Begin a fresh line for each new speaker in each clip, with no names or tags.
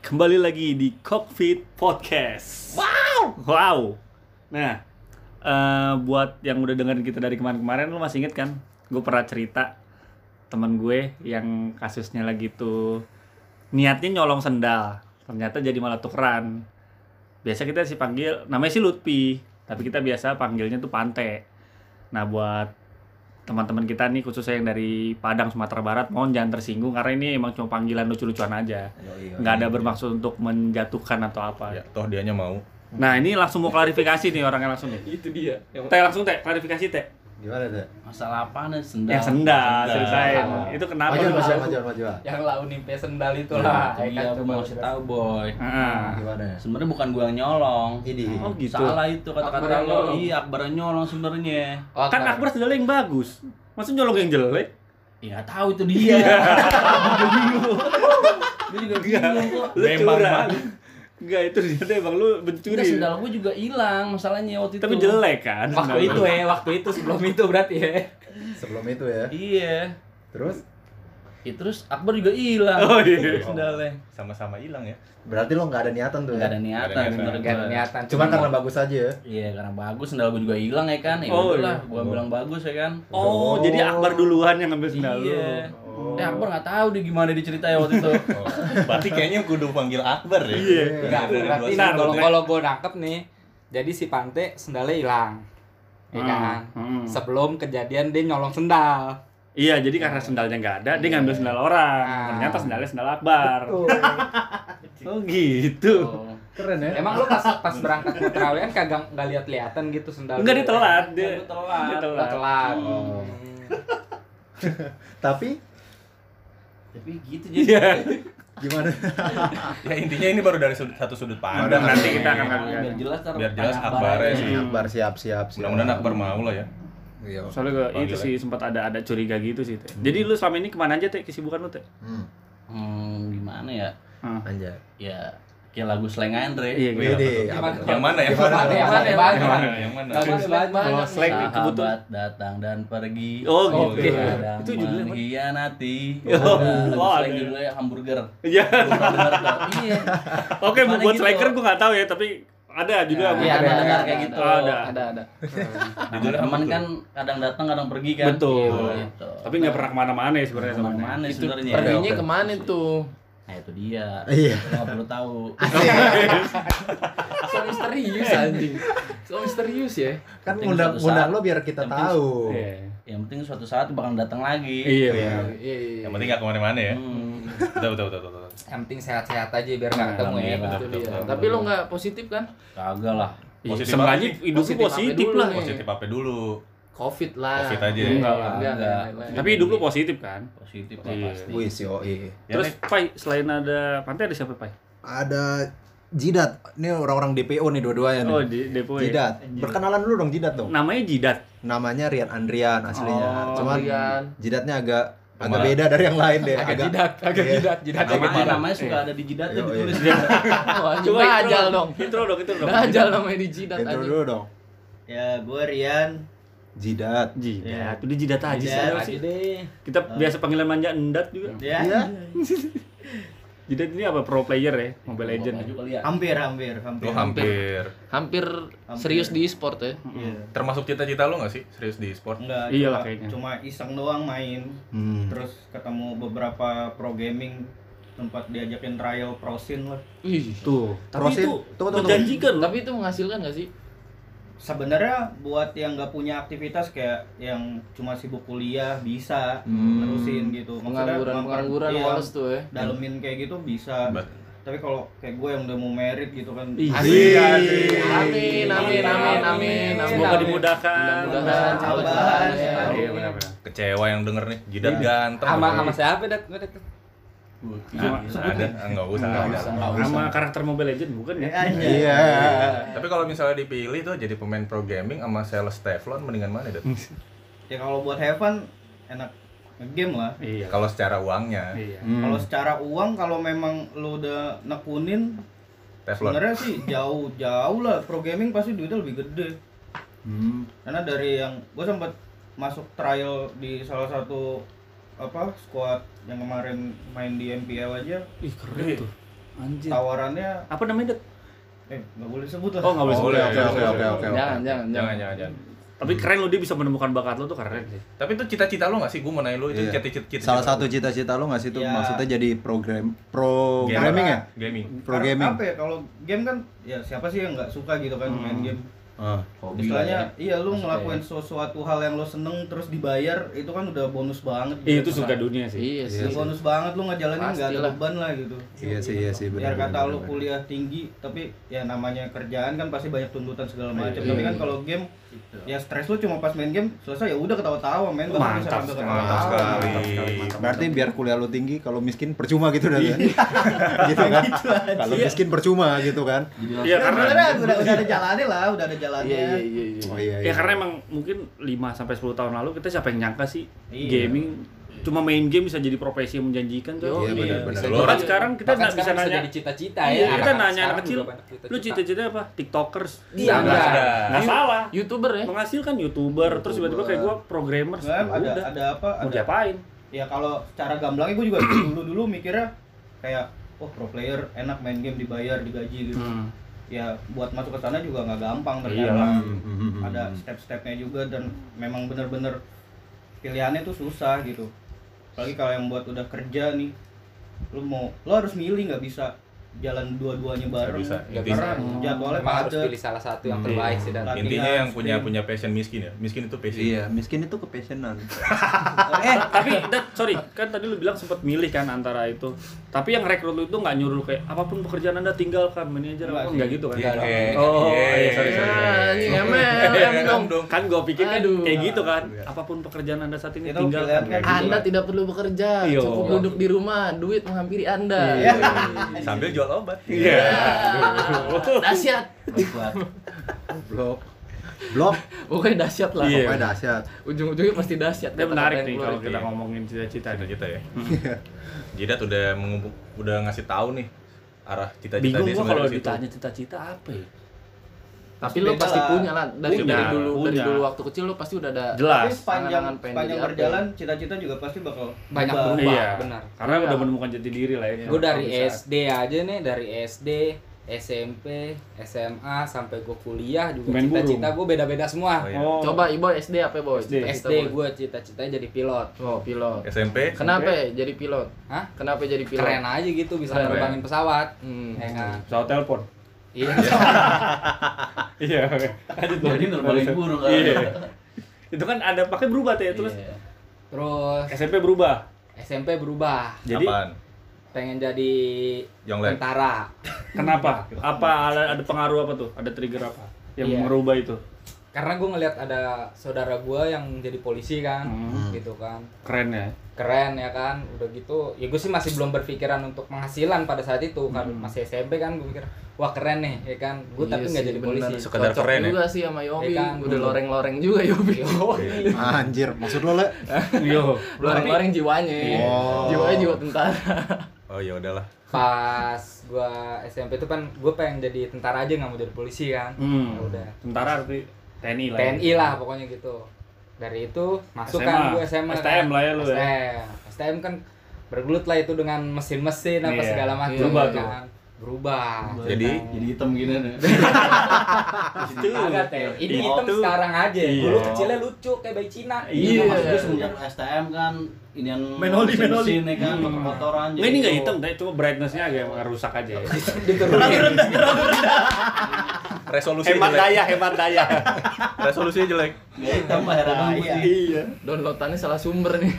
Kembali lagi di Cockpit Podcast. Wow. Wow. Nah, eh, buat yang udah dengerin kita dari kemarin-kemarin, lu masih inget kan? Gue pernah cerita teman gue yang kasusnya lagi tuh niatnya nyolong sendal, ternyata jadi malah tukeran. Biasa kita sih panggil, namanya sih Lutfi, tapi kita biasa panggilnya tuh Pante. Nah, buat teman-teman kita nih khususnya yang dari Padang Sumatera Barat mohon jangan tersinggung karena ini emang cuma panggilan lucu-lucuan aja nggak ada bermaksud untuk menjatuhkan atau apa.
Iya.
Ya, toh dianya mau.
Nah ini langsung mau klarifikasi nih orangnya langsung nih.
itu dia
Ya,
yang
Teh langsung teh klarifikasi teh.
Gimana tuh?
Masalah apa nih sendal?
Yang Ya, sendal
Sendal.
ceritain. Itu kenapa?
Maju,
lu?
maju, maju, maju. ah.
yang lau nimpe sendal itu
Nah,
lah
itu dia gue mau kasih tahu boy.
Heeh.
Gimana?
Sebenarnya bukan gue yang nyolong.
Nah. Ini.
Oh gitu.
Salah itu
Akbar yang
kata-kata
nyolong.
lo. Iya, Akbar yang nyolong sebenarnya.
Kan Akbar sendalnya yang bagus. Masa nyolong yang jelek?
Ya nggak tahu itu dia. Gue juga bingung kok.
Lu
Memang,
curang.
Bang.
Enggak itu ternyata emang lu
Udah
mencuri.
sendal gue juga hilang masalahnya waktu itu.
Tapi jelek kan.
waktu
sendal
itu
lu.
ya waktu itu sebelum itu berarti ya
Sebelum itu ya.
Iya.
Terus
Ya, terus Akbar juga hilang.
Oh iya.
Sendalnya.
Sama-sama hilang ya.
berarti lo nggak ada niatan tuh
Gak ada
ya?
Nggak
niatan
ada
menurut
gak ada
gue.
niatan
Cuman karena bagus aja ya.
Iya, karena bagus sendal gue juga hilang ya kan. Ya
Oh,
udahlah,
iya.
gue bilang bagus ya kan.
Oh, jadi Akbar duluan yang ngambil sendal lu. Oh.
Iya.
Oh.
Eh, Akbar nggak tahu deh gimana diceritain waktu itu.
Oh. Berarti kayaknya kudu panggil Akbar ya.
Iya.
Enggak,
Dari
berarti
dua
nih,
sendal,
kalau
Teh.
kalau gue nangkep nih jadi si Pante sendalnya hilang ya
Hmm,
kan
hmm.
sebelum kejadian dia nyolong sendal
Iya, jadi karena sendalnya nggak ada, dia ngambil sendal orang.
Iya. Ah.
Ternyata sendalnya sendal Akbar. Oh gitu.
Oh.
Keren ya.
emang lu pas pas berangkat mau terawihan kagak nggak lihat lihatan gitu sendal
Enggak
lu?
dia telat, dia,
Dia telat.
Dia
Lu
telat.
telat
Oh.
Tapi
Tapi gitu jadi.
Iya.
gimana?
Ya intinya ini baru dari sudut, satu sudut pandang.
Nanti kita akan
Nah,
kalian.
biar jelas ntar
Biar jelas
tanya
Akbarnya
ya.
Akbarnya.
sih.
Akbar siap siap siap.
Mudah-mudahan Akbar mau lah ya.
Iya.
Soalnya gua- itu sih sempat ada ada curiga gitu sih. Teh. Jadi lu selama ini kemana aja teh kesibukan lu teh?
Hmm.
Hmm, gimana ya?
Anjay.
Ya kayak lagu slang Andre.
Iya, gitu.
Wede.
Gimana?
apa tuh?
Yang mana ya?
Gimana?
Mana, yang mana, yang mana?
Yang mana? Yang mana?
Nggak bagus banget.
Kalau slang nih kebetulan.
Sahabat datang dan pergi.
Oh,
gitu.
gitu. Itu
Itu
judulnya
judulnya
apa?
mengkhianati.
Yo.
Oh, lagu
Oh,
slang
ada.
judulnya hamburger.
Iya.
Belum pernah dengar tuh. Iya.
Oke,
Mana
buat
gitu?
striker gua nggak tahu ya, tapi ada juga.
Iya,
ada,
ada dengar
ada,
kayak
ada,
gitu.
ada.
ada ada
Judulnya apa
Teman
tuh?
kan kadang datang kadang pergi kan.
Betul.
Iya, gitu.
Tapi nggak pernah kemana-mana ya sebenarnya sama dia.
Kemana-mana
itu
sebenarnya.
perginya
Oke, oke.
kemana tuh
Nah itu dia.
Iya.
Lo nggak perlu tahu.
so misterius anjing so misterius ya
Kan
Penting
ngundang
suatu
ngundang
saat.
lo biar kita
Penting
tahu.
Iya.
Yang penting suatu saat bakal datang lagi.
Iya.
Iya.
benar.
iya iya
Yang penting nggak kemana-mana ya.
Hmm.
Betul, betul, betul, betul.
yang penting sehat-sehat aja biar nggak ketemu ya
Alhamdulillah.
Itu dia. tapi lo nggak positif kan
Kagak lah.
Iya,
Positif
Seenggaknya
apa
hidup lu
Positif apa
positif
dulu
lah.
nih?
Positif apa dulu?
covid lah
Covid aja ya.
Enggak lah.
enggak
Enggak.
Tapi hidup lu positif kan?
Positif lah
Iya.
pasti.
Wih si OI.
Ya,
Terus
Nek.
Pai, selain ada pantai ada siapa Pai?
Ada Jidat. Ini orang-orang DPO nih dua-duanya
Oh, di
iya.
Depo. ya?
Jidat. Berkenalan dulu dong Jidat dong.
Namanya Jidat.
Namanya Rian Andrian aslinya.
Oh,
Cuman
Rian.
jidatnya agak agak
Cuma-
beda dari yang lain deh. Agak
jidat agak
Iya.
jidat jidat
Namanya, namanya suka
Iya.
ada di jidatnya
Iya, iya.
ditulis.
coba ajal
intro
dong
Intro dong, intro dong.
Nah,
ajal namanya di jidat
Intro
anjing
dulu dong.
Ya, gue Rian.
Jidat.
Jidat, udah jidat aja sih.
Jidat
Apa
aja
sih.
deh.
Kita biasa panggilan manja endat juga.
Ya.
Iya.
Jidat ini apa pro player ya, Mobile Legend.
Maju kali ya.
iya.
Hampir, hampir, hampir.
Lo Oh, hampir.
hampir serius di e-sport ya
Iya.
Termasuk cita-cita lo nggak sih? Serius di sport?
Enggak,
Iya
cuma-
lah kayaknya.
Cuma iseng doang main.
Hmm.
Terus ketemu beberapa pro gaming tempat diajakin trial prosin lah.
Wih.
Tuh, tapi
Prosin.
itu
Tunggu, tunggu,
menjanjikan loh.
tapi itu menghasilkan nggak sih
Sebenarnya buat yang nggak punya aktivitas kayak yang cuma sibuk kuliah bisa
Hmm.
terusin gitu. Maksudnya
pengangguran
memper-
pengangguran
iya,
males tuh ya
Dalemin kayak gitu bisa.
Bet.
Tapi kalau kayak gue yang udah mau merit gitu kan.
Ih,
Asik,
asik.
amin amin amin amin amin.
Semoga
Amin.
dimudahkan.
Mudah-mudahan
Nah,
cepat
sabar.
jalan ya.
Sabar.
Iya, benar-benar.
Kecewa yang denger nih. Jidat ganteng.
sama
Bro.
sama siapa dat Gua Dat.
Nah, ada nggak usah ada.
Sama karakter Mobile Legend bukan ya?
Iya.
Tapi kalau misalnya dipilih tuh jadi pemain pro gaming sama sales Teflon mendingan mana deh?
Ya kalau buat heaven enak game lah.
Iya.
Kalau secara uangnya
Iya.
Kalau secara uang kalau memang lu udah nekunin
Teflon.
sebenarnya sih jauh-jauh lah pro gaming pasti duitnya lebih gede. Karena dari yang gue sempat masuk trial di salah satu apa squad yang kemarin main di MPL aja
Ih, keren tuh. Anjir.
tawarannya
Apa namanya, Det?
eh nggak boleh sebut lah
Oh, nggak boleh
Oh,
sebut.
boleh,
oke, oke,
boleh,
oke, oke.
boleh.
Jangan, jangan,
Jangan,
jangan.
jangan, jangan.
Tapi keren lo dia bisa menemukan bakat lo tuh keren sih.
Tapi itu cita-cita lo gak sih? Gue mau nanya lo itu
Iya.
cita-cita
Salah satu cita-cita lo nggak sih tuh
Iya.
maksudnya jadi program programming ya?
Gaming.
Programming.
Karena apa ya kalau game kan ya siapa sih yang nggak suka gitu kan
Hmm,
main game
Ah.
Hobi lah
ya.
istilahnya iya lu
Masuk
ngelakuin sesuatu hal yang lo seneng terus dibayar itu kan udah bonus
Ih,
banget gitu
Iya, itu
kan.
surga dunia sih.
Iya
Udah
sih.
bonus banget lu ngejalanin nggak ada
Pastilah.
beban lah gitu
Iya sih, iya sih.
biar
benar,
kata
benar,
lu
benar.
kuliah tinggi tapi ya namanya kerjaan kan pasti banyak tuntutan segala
Iya,
macam tapi kan kalau game ya stres lu cuma pas main game selesai ya udah ketawa-tawa main bahkan
Mantap
bisa sambil
sekali.
ketawa-tawa.
Mantap sekali.
Berarti biar kuliah lu tinggi, kalau miskin percuma gitu dah. gitu kan? Kalau miskin percuma gitu kan?
Iya, karena
Sebenarnya udah, udah ada jalannya lah udah ada jalannya
iya, iya.
Oh iya.
Ya karena emang mungkin 5 sampai 10 tahun lalu kita siapa yang nyangka sih
Iya.
gaming cuma main game bisa jadi profesi yang menjanjikan coy.
Iya,
Iya.
benar-benar.
Bahkan
Bahkan
sekarang kita
Bahkan
nggak bisa
sekarang
nanya.
jadi cita-cita ya.
Iya, kita
Anak-anak
nanya anak
sekarang
kecil,
juga banyak
lu cita-cita apa? TikTokers.
Iya,
Nah,
enggak.
ada.
Nggak salah.
Youtuber ya?
Menghasilkan YouTuber, terus tiba-tiba kayak gua programmer.
Nggak,
Ya
ada
udah.
ada apa
Mau
ada
diapain?
ya kalau secara gamblangnya gue juga dulu dulu mikirnya kayak oh pro player enak main game dibayar digaji gitu
Hmm.
ya buat masuk ke sana juga nggak gampang
Iyalah.
Iya
ternyata
Hmm, hmm, hmm,
ada step-stepnya juga dan memang bener-bener pilihannya tuh susah gitu apalagi kalau yang buat udah kerja nih lu mau lu harus milih nggak bisa jalan dua-duanya bareng
bisa,
Ya,
intinya.
karena jadwalnya
Emang harus
padat
pilih salah satu
Iya.
yang terbaik sih dan
Latihan,
Iya. Intinya yang punya
sprint.
punya passion miskin ya. Miskin itu passion.
Iya, miskin itu kepassionan.
Eh, tapi Dat, sorry, kan tadi lu bilang sempat milih kan antara itu. Tapi yang rekrut lu itu nggak nyuruh lu kayak apapun pekerjaan Anda tinggalkan manajer
Nggak
apa
sih.
enggak gitu kan?
Iya, oke.
Oh,
Iya,
iya, sorry, sorry.
Ah, ini ML,
Em
dong.
Iya, dong.
Kan gua pikir kan
Aduh.
kayak gitu kan. Apapun pekerjaan Anda saat ini
Itu
tinggalkan.
pilihan kan.
Kayak gitu
Anda tidak perlu bekerja,
Iya.
cukup duduk di rumah, duit menghampiri Anda.
Sambil jual obat.
Iya.
Dahsyat.
Buat
Blok. Blok.
Pokoknya dahsyat lah.
Iya.
Pokoknya dahsyat.
Ujung-ujungnya pasti dahsyat.
Tapi menarik nih kalau
Keluar.
kita
iya.
ngomongin cita-cita nih.
Cita-cita ya. Jidat udah mengumpul, udah ngasih tahu nih arah cita-cita
Bingung
dia
gua
sebenarnya
kalau
di situ.
ditanya cita-cita apa ya?
Tapi lo
Beda
pasti
lah.
punya lah dari
Punya,
dari dulu dari
punya.
dulu waktu kecil lo pasti udah ada
tapi
Jelas.
sepanjang
Angan-angan pengen
sepanjang
jadi apa?
berjalan cita-cita juga pasti bakal
banyak
berubah.
berubah
Iya.
benar.
Karena
Iya.
udah menemukan jati diri lah ya.
Gue dari
Saat-
SD aja nih, dari SD, SMP, SMA sampai gue kuliah juga
Main burung.
cita-cita gue beda-beda semua.
Oh, iya.
Oh. iya.
Coba Ibo SD apa Boy?
SD.
SD gue cita-citanya jadi pilot.
Oh, pilot.
SMP.
Kenapa ya jadi pilot?
Hah?
Kenapa jadi pilot?
Keren aja gitu bisa
Keren.
nerbangin pesawat.
Hmm.
Ya kan?
Soal telepon.
Iya.
Iya. oke. Lanjut dong.
Jadi nerbalin burung kan.
Iya. Itu kan ada pakai berubah tuh ya terus.
Iya.
Terus
SMP berubah.
SMP berubah,
Jadi
Apaan?
pengen jadi
Jongleur.
tentara.
kenapa? Apa ada, ada pengaruh apa tuh? Ada trigger apa yang
Iya.
merubah itu?
Karena gue ngelihat ada saudara gue yang jadi polisi kan,
Hmm.
gitu kan.
Keren ya.
keren ya kan udah gitu ya gue sih masih belum berpikiran untuk penghasilan pada saat itu kan masih SMP kan gue mikir wah keren nih ya kan gue tapi
Hmm. Iya
nggak
sih,
jadi
bener.
polisi
Sekedar
Cocok
keren ya?
juga sih sama
Iya
Yobi.
kan?
Udah loreng-loreng juga Yobi.
Ah, Anjir, maksud lo, Le?
Yo.
loreng-loreng jiwanya.
Oh.
Jiwanya jiwa tentara.
Oh ya udahlah.
pas gue SMP itu kan gue pengen jadi tentara aja nggak mau jadi polisi kan
Hmm.
Ya udah
Tentara arti TNI lah. ya.
TNI lah pokoknya gitu dari itu masuk
SMA.
kan gue SMA
STM
kan.
lah ya lu ya.
STM STM kan bergelut lah itu dengan mesin-mesin
Iya.
apa segala macam
Berubah
ya
tuh.
kan. berubah
Jadi?
Jadi hitam gini nih.
Ah, Kagak teh.
Itu.
Ini hitam sekarang aja.
Iya.
Dulu kecilnya lucu kayak bayi Cina.
Iya,
Iya.
maksud gue semenjak STM kan ini yang
Menoli, menoli.
mesin-mesin ya kan kotoran.
Nggak, ini nggak hitam, tapi cuma brightness-nya agak rusak aja. ya.
gitu Diturunin.
Resolusinya
hemat
Iya.
jelek.
daya, hemat daya.
Resolusinya jelek.
Nggak hitam air raya.
iya.
Downloadannya salah sumber nih.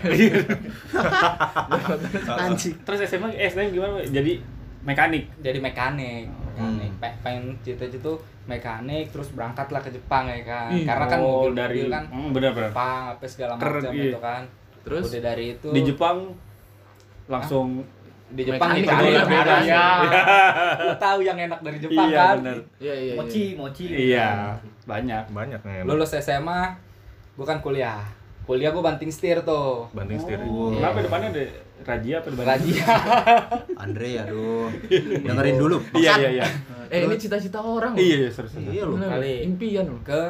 Anjing.
Terus SMA, eh, STM gimana? Jadi mekanik.
Jadi mekanik. Mekanik.
Hmm.
Pe- Pengen cita-cita tuh mekanik terus berangkat lah ke Jepang ya kan. Karena kan
Oh,
mobil
dari
mobil kan
Hmm, benar-benar.
Jepang apa segala
Keren,
macam
iya.
gitu kan.
Terus?
udah dari itu
Di Jepang langsung
di Jepang
Mekanik
dicari
juga
yang
beda.
beras.
Iya.
Lu tahu yang enak dari Jepang
Iya,
kan.
bener.
Iya, iya, iya.
mochi mochi
Iya, banyak.
Banyak nih.
Lulus SMA gua kan kuliah. Kuliah gua banting setir tuh.
banting setir.
Kenapa depannya ada Rajia apa depannya?
Rajia.
Andre, aduh. Dengerin dulu.
Iya, iya, iya.
Eh, ini cita-cita orang.
Iya, iya, serius. serius.
Iya lu.
Bener,
Kali.
Impian loh.
ke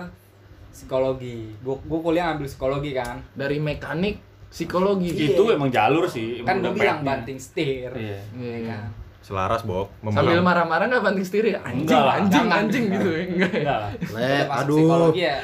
psikologi. Gue kuliah ambil psikologi kan.
Dari mekanik psikologi.
Itu emang jalur sih,
Kan
emang udah
gue bilang
petnya.
banting setir.
Iya.
Iya.
Ya
iya.
kan?
Selaras, Bok.
Sambil
Membelam.
marah-marah nggak banting setir ya? Anjing,
Enggak lah,
anjing,
jangan.
anjing gitu ya? Enggak ya?
Enggak lah.
Lek,
Udah masuk
aduh.
psikologi ya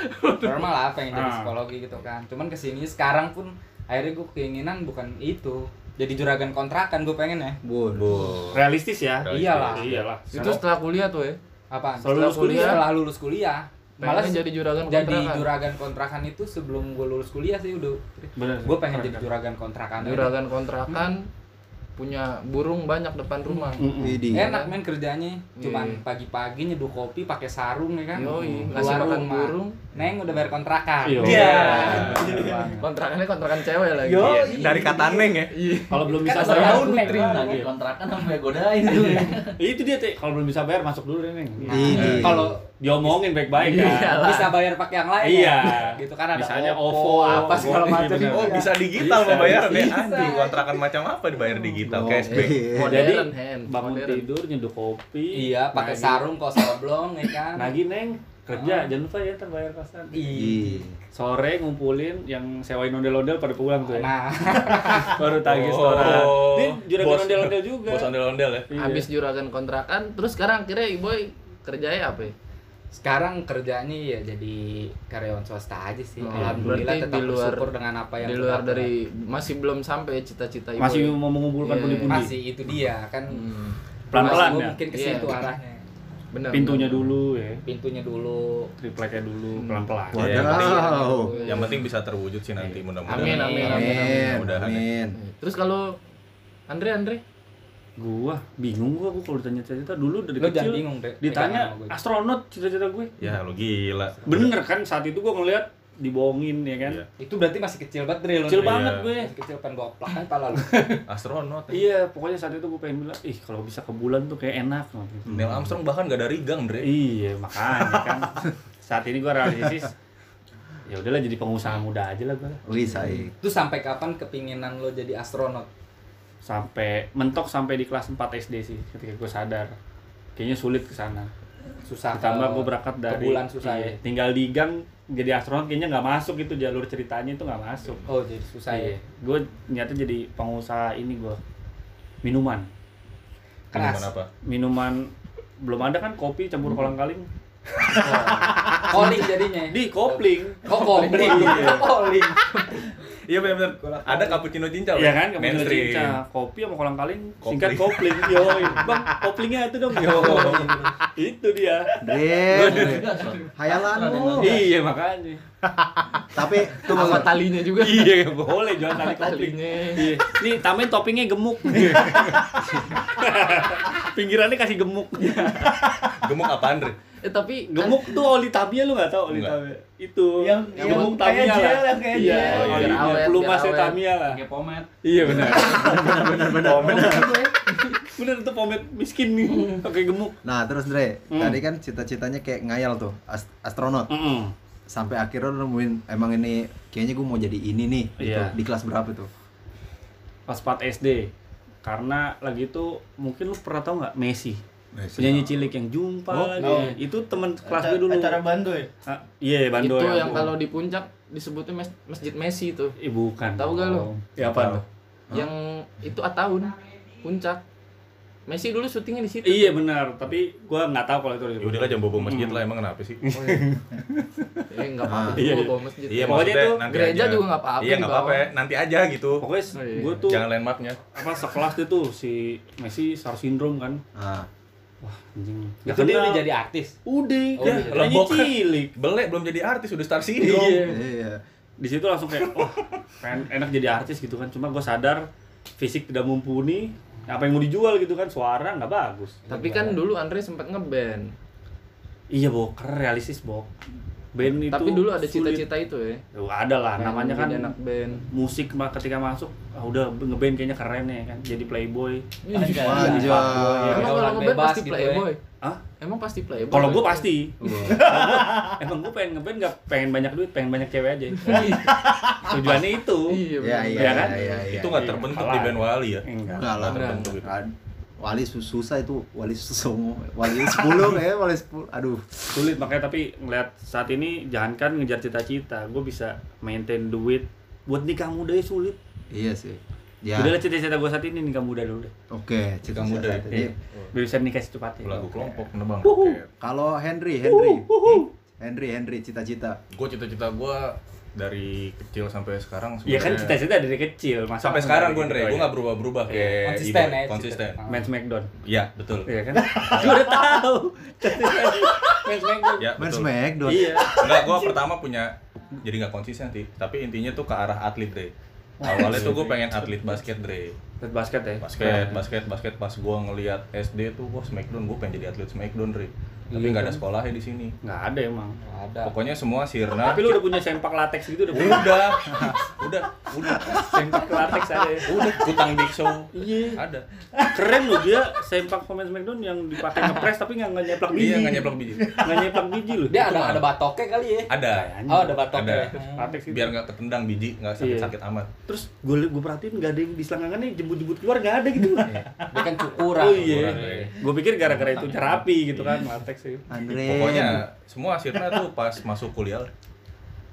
normal lah pengen jadi
Eh, Ah.
psikologi gitu kan cuman kesini sekarang pun akhirnya gue keinginan bukan itu jadi juragan kontrakan gue pengen ya
Waduh.
Bok.
Realistis ya.
Realistis.
iyalah
Iyalah.
Itu setelah kuliah tuh ya?
apa
Setelah lulus kuliah?
setelah lulus kuliah malah
Pengennya jadi juragan
jadi
Kan kontrakan.
juragan kontrakan itu sebelum gue lulus kuliah sih udah
Bener.
gue pengen jadi juragan kontrakan
Juragan kontrakan punya burung banyak depan rumah.
Hmm.
Widih.
enak men kerjanya cuman
Iya.
pagi-pagi nyeduh kopi pakai sarung ya kan
Yoi, ngasih
keluar
makan
rumah
burung.
neng udah bayar kontrakan
Iya.
Iya. Kontrakannya kontrakan cewek lagi.
Iya, Dari kata Neng ya.
Iya.
Kalau belum bisa
Kan ada
bayar,
daun, Neng.
lagi.
lagi kontrakan sampai godain tuh ya.
Itu dia, Teh. Kalau belum bisa bayar masuk dulu deh, Neng.
Nah, Iya.
kalau
Diomongin baik-baik
Iya.
kan.
Iyalah.
bisa bayar pakai yang lain
Iya.
ya? gitu kan ada
Misalnya OVO,
apa
iya,
segala macam
bener.
Oh, bisa digital
Bisa.
membayar ya.
Bisa.
Anjing, kontrakan macam apa dibayar digital?
Blok.
Cashback.
Iya.
Modern,
Jadi
hand,
bangun
modern.
tidur, nyeduh kopi.
iya pakai
Nah,
nagih-
sarung kaos oblong ya kan
Nagih, Neng. Kerja,
Ah.
jangan lupa ya ntar bayar kosan.
Iya.
Iya.
Sore ngumpulin yang sewain ondel-ondel pada pulang tuh ya.
nah
Baru tagih setoran. Ini juragan ondel-ondel juga.
Oh. Bos ondel-ondel ya.
Iya.
Habis juragan kontrakan, terus sekarang akhirnya Iboy kerjanya apa ya?
sekarang kerjanya ya jadi karyawan swasta aja sih
Oh,
alhamdulillah
berarti
tetap
di luar-
bersyukur dengan apa yang
Di luar
Tuhan
dari masih belum sampai cita-cita Iboy.
Masih mau mengumpulkan
Iya.
berikan.
pundi-pundi.
masih Ah, itu dia kan
Hmm.
Pelan-pelan
Masih gua
ya.
mungkin ke
Iya.
situ arahnya
Bener.
Pintunya dulu ya.
pintunya dulu
Tripleknya dulu
Hmm.
pelan-pelan. Iya.
Wah.
Iya.
Wadaw.
Yang penting bisa terwujud sih nanti mudah-mudahan.
Amin, amin,
iya.
amin.
Amin.
Mudah-mudahan ya.
Amin.
Terus kalau Andre Andre
Iya.
Gua bingung gua, gua kalau ditanya cita-cita dulu dari
Lu jangan
kecil.
bingung, Dre. Pegangan
Ditanya
sama gue.
astronot cita-cita gue.
Ya, lu gila.
Bener kan saat itu gua ngeliat dibohongin ya kan.
Iya.
itu berarti masih kecil banget Dre, lu,
Kecil
Dre.
banget ya? gue.
masih kecil pengen gue plak kan pala lu
Astronot. ya.
Iya, pokoknya saat itu gue pengen bilang, ih kalau bisa ke bulan tuh kayak enak banget
Hmm.
gitu.
Neil Armstrong bahkan gak ada rigang, Dre.
Iya, makanya kan. saat ini gue realistis, ya udahlah jadi pengusaha muda aja lah gue.
Risai.
itu sampai kapan kepinginan lo jadi astronot
Sampai mentok sampai di kelas 4 SD sih, ketika gue sadar. Kayaknya sulit ke sana.
susah
Ditambah
ke-
gue berangkat
ke
dari
bulan susah
iya,
ya
tinggal di gang jadi astronot kayaknya nggak masuk gitu jalur ceritanya itu nggak masuk.
oh jadi susah ya
Iya, gue niatnya jadi pengusaha ini gue minuman,
keras
Minuman apa?
minuman belum ada kan kopi campur kolang kaling
Calling jadinya. ya?
di kopling
Kok kopling? Calling.
Iya benar-benar. Ada cappuccino cincau. ya?
Iya kan, kemudian
mainstream.
cinca, kopi sama kolang kaling,
Kopling.
singkat kopling. Yo, bang, koplingnya itu dong. Yo, itu dia.
Dren, Dren. Hayalan
Ada
lu.
yang-
Iya makanya.
Tapi tunggu
sama talinya juga.
Iya boleh jual tali kopling.
Talinya.
Iya. Nih tambahin toppingnya gemuk. Pinggirannya kasih gemuk.
Gemuk apaan, Dre?
Eh tapi
Gemuk tuh oli tabia lu nggak tau oli
Nggak.
tabia. Itu
Yang- yang
gemuk tabia
kayak gel,
lah.
yang kayak
Iya,
gel.
oli
Biar awet, biar
pelumasnya
awet.
tabia lah.
Pakai pomet.
Iya benar.
benar benar.
Bener tuh pomet miskin nih, pakai gemuk.
Nah, terus Dre,
Hmm.
tadi kan cita-citanya kayak ngayal tuh, as- astronot.
Mm-mm.
Sampai akhirnya lu nemuin emang ini kayaknya gue mau jadi ini nih gitu.
Iya.
Di kelas berapa tuh?
kelas 4 SD karena lagi itu mungkin lu pernah tau nggak Messi penyanyi cilik yang jumpa lagi
oh.
itu teman kelas
Acara-
gue dulu
acara bando ya
Ah, iya Bando
ya,
itu yang kalau di puncak disebutnya mes- masjid Messi itu.
eh, bukan
Tahu nggak lu?
ya apa
Yang itu Ataun puncak. Messi dulu syutingnya di situ.
iya benar tapi gua nggak tahu kalau itu
Ya udahlah jam bobo
Hmm.
masjid lah emang kenapa sih?
Oh, iya. Eh enggak apa-apa
Iya,
juga
iya.
bawa masjid.
Iya,
Pokoknya
maksudnya
itu
nanti
gereja
aja.
juga nggak apa-apa
Iya, nggak apa-apa, ya.
dibawa.
nanti aja gitu.
pokoknya
Oh, iya.
gue tuh
Jangan landmarknya.
apa sekelas dia tuh si Messi star syndrome kan
Ah,
wah anjing nggak
Itu dia
kenal.
udah jadi artis.
udah
Oh,
ya,
iya.
udah.
penyanyi
Lembok.
cilik
Belek belum jadi artis udah star syndrome.
iya
iya.
di situ langsung kayak wah pengen enak jadi artis gitu kan cuma gue sadar fisik tidak mumpuni apa yang mau dijual gitu kan suara nggak bagus
Tapi kan dulu Andre sempat ngeband.
iya boker realistis bok band itu
Tapi dulu ada
sulit.
cita-cita itu ya.
Duh, ada lah
Pengen
namanya kan
jadi anak band.
musik mah ketika masuk ah, udah ngeband kayaknya keren ya kan jadi playboy
iya.
Wajah.
Emang
Pergaulan
kalau ngeband
bebas
pasti
gitu ya.
playboy.
ah
Emang pasti playboy. Oh.
kalau gue pasti
Wah.
emang gue pengen ngeband nggak pengen banyak duit pengen banyak cewek aja tujuannya itu
Iya,
Iya,
Iya
iya,
bener.
iya,
kan?
iya, iya.
Itu nggak
Iya,
terbentuk
kalah.
di band Wali ya.
enggak
Enggak lah.
Enggak terbentuk.
Ad- gitu. Wali sus- susah itu, wali susomo, wali 10 kayaknya, wali 10. Aduh.
sulit makanya tapi ngeliat saat ini jangankan ngejar cita-cita gue bisa maintain duit buat nikah muda ya sulit
Iya sih. Ya.
Udahlah cita-cita gue saat ini nikah muda dulu deh.
Oke, cita
Nikah muda,
muda.
Iya. Biar bisa nikah secepatnya.
lagu kelompok nebang
Iya. Wuhu.
roket.
Kalau Henry, Henry. Henry, Henry cita-cita.
Gue cita-cita gue dari kecil sampai sekarang
Ya kan
sebenarnya-
cita-cita dari kecil. Masa
Iya. sampai sekarang gue Andre, gue
nggak
nggak berubah-berubah
Iya.
kayak
Konsisten
Ido.
ya, cita-
konsisten.
Ah.
Main Smackdown.
Iya betul.
Iya kan? gue udah tahu. Main Smackdown.
Ya
Main
betul.
Smackdown.
Iya.
Enggak, gue pertama punya jadi nggak konsisten sih. Tapi intinya tuh ke arah atlet Dre. Awalnya tuh gue pengen atlet basket Dre.
Buat basket ya.
Basket, basket, basket. Pas gue ngelihat SD tuh, wah Smackdown, gue pengen jadi atlet Smackdown Dre. Tapi
Iya
nggak ada
kan?
sekolahnya di sini.
Nggak ada emang.
Nggak ada.
Pokoknya semua sirna.
Tapi lu udah punya sempak latex gitu udah punya.
Ya udah, udah, udah,
Sempak latex ada ya.
udah, kutang biksu
Iya.
ada.
Keren loh dia sempak pemain Smackdown yang dipakai ngepres tapi nggak nggak nyeplak biji.
Iya nggak nyeplok biji.
Nggak nyeplak biji loh.
Dia ada
mah.
ada batoknya kali ya.
Ada,
Kayaknya.
Oh, ada batoknya.
Ada.
Hmm.
latex gitu.
biar nggak ketendang biji, nggak
Iya.
sakit-sakit amat.
Terus gue gue perhatiin nggak ada yang di selangkangannya jebut-jebut keluar nggak ada gitu.
Dia kan cukuran.
Oh iya.
Kurang, iya.
Gue pikir gara-gara itu terapi gitu kan latex itu.
Andre.
Pokoknya semua hasilnya tuh pas masuk kuliah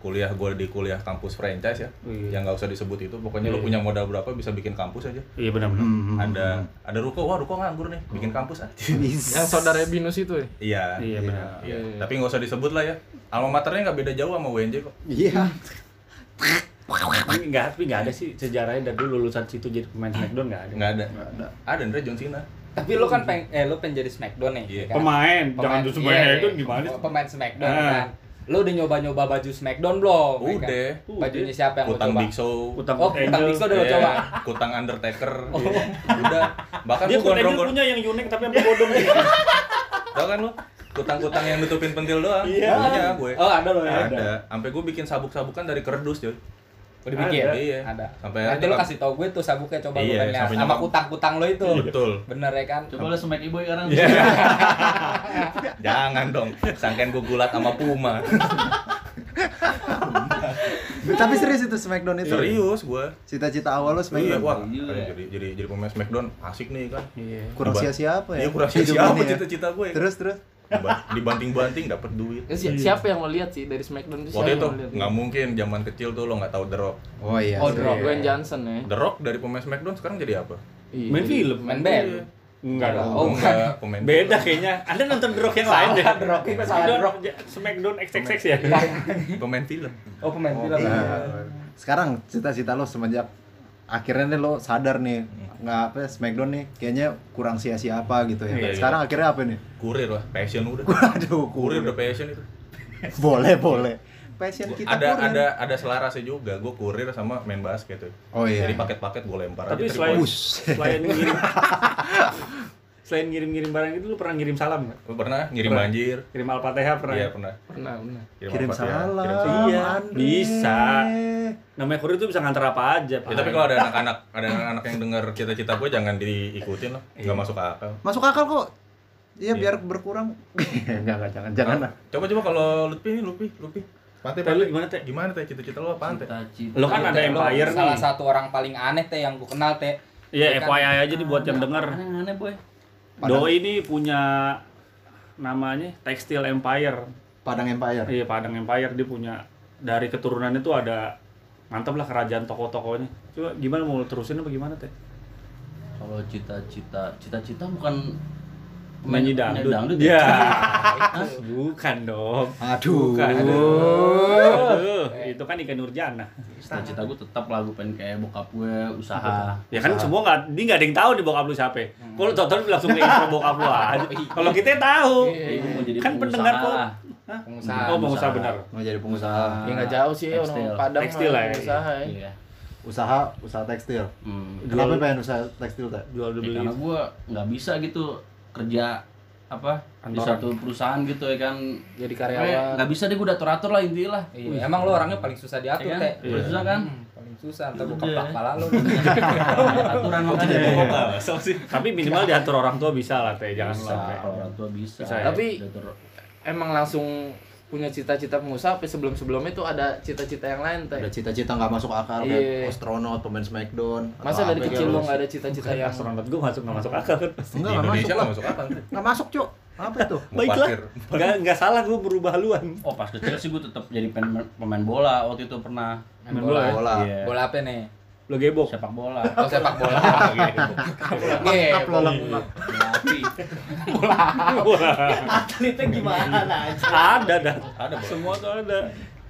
kuliah gue di kuliah kampus franchise ya
Iya.
yang nggak usah disebut itu pokoknya lu
Iya.
punya modal berapa bisa bikin kampus aja
Iya benar-benar.
Hmm.
ada ada ruko wah ruko nganggur nih bikin kampus aja
Bisa.
Yang saudara Binus itu ya?
iya
Iya benar.
Iya.
Iya.
tapi nggak usah disebut lah ya alma maternya nggak beda jauh sama UNJ kok
Iya.
Enggak, tapi enggak ada sih sejarahnya dari dulu lulusan situ jadi pemain Smackdown enggak ada.
nggak ada
ada.
ada Andre John Cena
Tapi lu kan pengen eh lu pengen jadi Smackdown nih.
Iya.
ya kan?
Pemain, jangan
Pemain-
justru
iya,
pemain
iya.
Smackdown gimana? sih?
Pemain Smackdown
Ah.
kan. Lu udah nyoba-nyoba baju Smackdown belum? ya kan?
Udah.
Bajunya siapa yang lu
kutang
coba?
Big Show
Utang
Oh,
Kurt
Kutang
Angle.
Big Show udah lu
Iya.
coba.
kutang Undertaker Iya. udah bahkan
Dia
gue
Kurt Angle
gondrong
punya yang unik tapi sampai bodong. Iya.
tau kan lu kutang-kutang yang nutupin pentil doang
Iya.
punya gue
Oh, ada lo ya.
ada sampai gue bikin sabuk-sabukan dari kerdus coy
Udah bikin.
Ada.
Iya.
Ada.
Sampai
Nanti lu
aja nyokap-
kasih tau gue tuh sabuknya coba lu
Iya,
kan lihat
sampai
sama
nyokap-
kutang-kutang lo itu.
betul
Bener ya kan?
Coba lu smack ibu sekarang.
Iya.
jangan dong sangkain gue gulat sama puma
Tapi serius itu Smackdown itu.
serius gue
Cita-cita awal lo
Iya,
Smackdown.
wah,
Iya.
keren jadi jadi jadi pemain Smackdown asik nih kan.
Iya.
Kurang
Coba.
sia-sia apa ya?
Iya, kurang sia-sia
Hidup
apa
ini ya?
cita-cita gue ya?
Terus terus.
Diba- Dibanting-banting dapat duit.
Ya, si- Siapa yang mau lihat sih dari Smackdown itu? Siapa
Waktu
yang
itu
mau lihat?
nggak mungkin zaman kecil tuh lo nggak tahu The Rock.
Oh iya.
Oh,
sih.
drop.
Dwayne Johnson ya.
The Rock dari pemain Smackdown sekarang jadi apa?
Iya.
Main film.
Main band.
Enggak dong.
Oh,
enggak, pemain
Beda kayaknya. Anda nonton Rock yang lain deh.
Salah, The Rock. Kita salah The Rock.
Smackdown XXX ya.
film. Pemain film.
Oh, pemain
Oh,
film.
iya. Sekarang cita-cita lo semenjak akhirnya nih lo sadar nih nggak apa ya, Smackdown nih kayaknya kurang sia-sia apa gitu ya.
Iya,
iya.
Sekarang akhirnya apa nih?
Kurir lah, passion udah.
Aduh, kurir.
Kurir udah passion itu.
Boleh, boleh. Passion
Gua-
Kan kita
ada
kurir.
ada ada selarasnya juga. Gue kurir sama main basket tuh.
Oh iya.
Jadi paket-paket gue lempar
Tapi
aja. three
selain
point.
Buset.
selain ngirim selain ngirim-ngirim barang itu lu pernah ngirim salam nggak?
Lu pernah ngirim
Pernah.
banjir?
Kirim Al-Fatihah pernah? ya?
Iya pernah.
Pernah, pernah.
Kirim
apa, ya?
salam.
Kirim
Iya,
Andre.
bisa. Namanya kurir itu bisa ngantar apa aja, Pak.
Ya, tapi kalau ada anak-anak ada anak-anak yang dengar cita-cita gue jangan diikutin lah,
Iya.
nggak masuk akal.
Masuk akal kok. Iya
Iya.
biar berkurang. Enggak, enggak jangan jangan lah.
Coba coba kalau Lutfi nih, Lutfi, Lutfi. Pantai,
Teh, lu gimana, Teh?
Gimana teh cita-cita lu apaan teh?
Cita-cita.
Lo kan ada
Lo
Empire
Iya, Salah
nih.
satu orang paling aneh teh yang gue kenal teh.
Iya,
Ya kan?
FYI aja nih buat yang denger.
Aneh-aneh boy.
Doi ini punya namanya Textile Empire.
Padang Empire.
Iya, Padang Empire dia punya dari keturunannya tuh ada mantap lah kerajaan toko-tokonya. Coba gimana mau lu terusin apa gimana, Teh?
Kalau cita-cita, cita-cita bukan main-
Menyanyi dangdut.
main dangdut
Iya.
ya.
Bukan dong.
Aduh.
Bukan. Aduh, itu kan ikan nurjana.
Cita-cita gue tetap lagu pengen kayak bokap gue
Ah.
usaha.
Ya kan semua nggak, ini nggak ada yang tahu di bokap lu siapa. Kalau tonton langsung ke intro bokap lu aja. Kalau kita tahu,
Ibu Iya, mau jadi
kan
pengusaha.
pendengar kok. Hah?
Pengusaha.
Iya.
Oh, pengusaha benar.
Mau jadi pengusaha.
Ya nggak jauh sih orang
Tekstil.
Padang
Tekstil
mah
lah ya,
usaha ya.
Iya.
Usaha usaha tekstil.
Hmm.
Kenapa pengen usaha tekstil, Teh?
Ya,
Jual dibeli.
karena gue nggak bisa gitu kerja apa di
Kantoran.
satu perusahaan gitu ya kan
Jadi
Kayak
nah,
karyawan.
nggak bisa deh gue udah atur atur lah intinya lah
Iya, emang lo orangnya paling susah diatur
Iya kan?
teh.
Paling susah kan? Iya.
Hmm, paling susah ntar gue
Udah.
keplak pala lo.
Iya.
aturan makanya
Tapi minimal diatur orang tua bisa lah, teh. Jangan
bisa
sampai.
kalau orang tua bisa,
Iya.
iya.
Bisa ya?
Tapi-
Udah atur-
Emang langsung punya cita-cita pengusaha tapi sebelum-sebelumnya tuh ada cita-cita yang lain teh.
Ada cita-cita nggak masuk akal
Iya.
kayak astronot, pemain Smackdown.
Masa
atau
dari
apa
kecil
gitu.
lo nggak ada cita-cita yang
Astronot gue masuk nggak masuk akal kan?
Di
Enggak, nggak
Indonesia
masuk.
nggak masuk akal. Teh.
Nggak masuk, Cok. Apa itu?
Mau
Baiklah,
parkir.
nggak nggak salah gue berubah haluan.
oh pas kecil sih gue tetap jadi pen- pemain bola waktu itu pernah
Main bola.
Bola.
Iya.
ya?
Bola apa nih?
Lo gebok.
sepak bola
Kalau sepak bola.
Iya.
gitu. Iya.
Lengkap lo lengkap.
Atletnya gimana
Hmm.
aja?
ada dah.
Ada, Bro.
Semua tuh ada.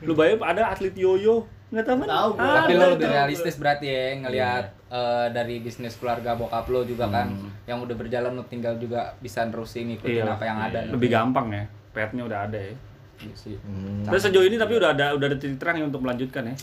Lu bayar ada atlet yoyo. Nggak tahu kan?
Tahu, gua.
Ada
Tapi lo lebih
tuh.
realistis berarti ya ngelihat
Iya.
eh, dari bisnis keluarga bokap lo juga kan yang udah berjalan lo tinggal juga bisa nerusin ngikutin
Hmm. Iya.
apa yang ada.
Lebih gampang ya. Petnya udah ada ya.
Iya sih.
Tapi sejauh ini tapi udah ada udah ada titik terang ya untuk melanjutkan ya.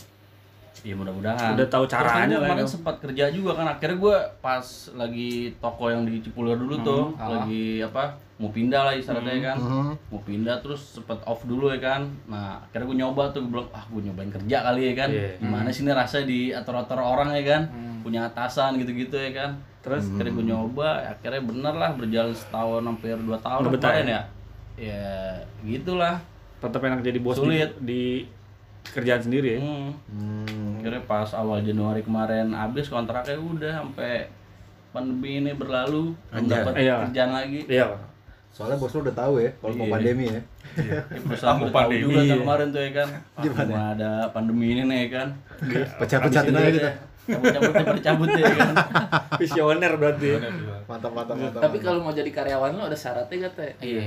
ya mudah-mudahan
Udah tahu
Terus kan
caranya
gua
lah
kemarin
itu.
sempat kerja juga kan akhirnya gue pas lagi toko yang di Cipulir dulu tuh
Hmm, ah.
lagi apa mau pindah lah istilahnya
Hmm,
kan
Mhm.
mau pindah terus sempet off dulu ya kan nah akhirnya gue nyoba tuh gue bilang ah gue nyobain kerja kali ya kan
Iya. Hmm.
gimana sih ini rasanya di atur-atur orang ya kan punya atasan gitu-gitu ya kan terus akhirnya gue nyoba akhirnya bener lah berjalan setahun hampir dua tahun
Nggak betah
kemarin ya ya gitulah
Tetap enak jadi bos
Sulit.
di, di kerjaan sendiri ya.
Hmm. Akhirnya pas awal Januari kemarin habis kontraknya udah sampai pandemi ini berlalu belum
Anjay.
dapat
Iya.
kerjaan lagi.
Iya.
Soalnya bos lu udah tahu ya kalau mau
Iya.
pandemi ya.
Ya, Perusahaan
Tamu
udah tahu
pandemi.
juga tuh kemarin tuh ya kan.
Iya,
Ah, gua ada pandemi ini nih ya kan.
Pecah-pecahin Iya. aja
ya.
kita.
Cabut-cabut cabut ya kan.
Visioner berarti. ya.
Mantap mantap mantap.
Tapi kalau mau jadi karyawan lo ada syaratnya gak teh?
Iya.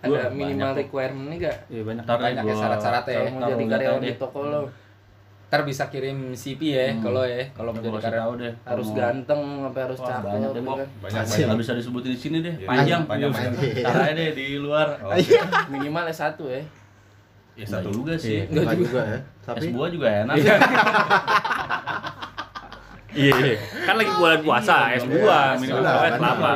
Ada minimal requirement-nya gak?
Iya banyak.
Ntar
Banyak ya syarat-syaratnya ya.
Kalau mau
Taruh
jadi
lihat
karyawan
aja.
di toko lo
Ntar bisa kirim CV ya
Hmm.
kalau ya kalau mau jadi karyawan.
tahu deh.
harus
Mau-
ganteng, sampai harus
Wah,
cakep,
banyak deh,
gitu
Bok.
kan?
Banyak
Asik.
Nggak bisa disebutin di sini deh.
Iya.
Panjang.
Panjang, panjang.
Caranya deh di luar.
Oh, Iya.
minimal S1 ya.
Ya,
Nggak
Iya.
satu.
juga sih.
Enggak juga ya. Tapi
S2 juga enak.
Iya, iya. Kan lagi bulan puasa, es buah,
Iya,
minum
iya,
es
iya.
kelapa.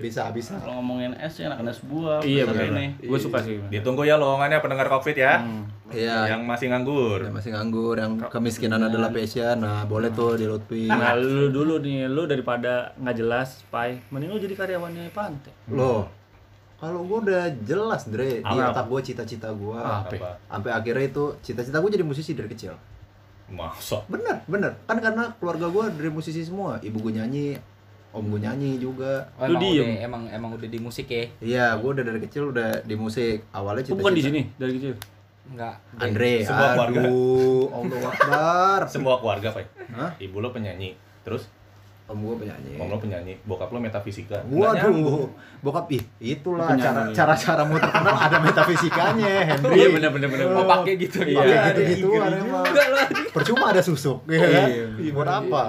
bisa bisa.
Kalau ngomongin S ya enak S buah.
Iya,
besar
benar.
ini.
Gue suka sih.
Ditunggu ya lowongannya pendengar Covid ya.
Iya.
Yang masih nganggur.
Yang masih nganggur, yang kemiskinan adalah passion. Nah, boleh tuh di Lutfi.
Nah, lu dulu nih, lu daripada nggak jelas, Pai, mending lu jadi karyawannya Pantai.
Loh. Kalau gue udah jelas, Dre, di
Apa?
otak gue cita-cita gue.
Apa?
Sampai akhirnya itu cita-cita gue jadi musisi dari kecil.
Masa?
Bener, bener. Kan karena keluarga gue dari musisi semua. Ibu gue nyanyi, om gue nyanyi juga.
Oh,
Lu
emang,
diem.
udah, emang emang udah di musik ya?
Iya, gue udah dari kecil udah di musik. Awalnya
Lu
cita-cita.
bukan di sini dari kecil.
Enggak.
Andre,
Semua keluarga.
aduh, Allah Akbar.
Semua keluarga, Pak.
Hah?
Ibu lo penyanyi. Terus
Om gue penyanyi.
om lo penyanyi, bokap lo metafisika.
Iya. Waduh, bokap ih itulah cara cara cara mau terkenal ada metafisikanya, Henry.
Iya, bener, bener, bener.
Oh,
Pakai gitu
Iya,
iya, gitu gituan emang. Percuma ada susuk, ya kan?
Iya,
Buat apa?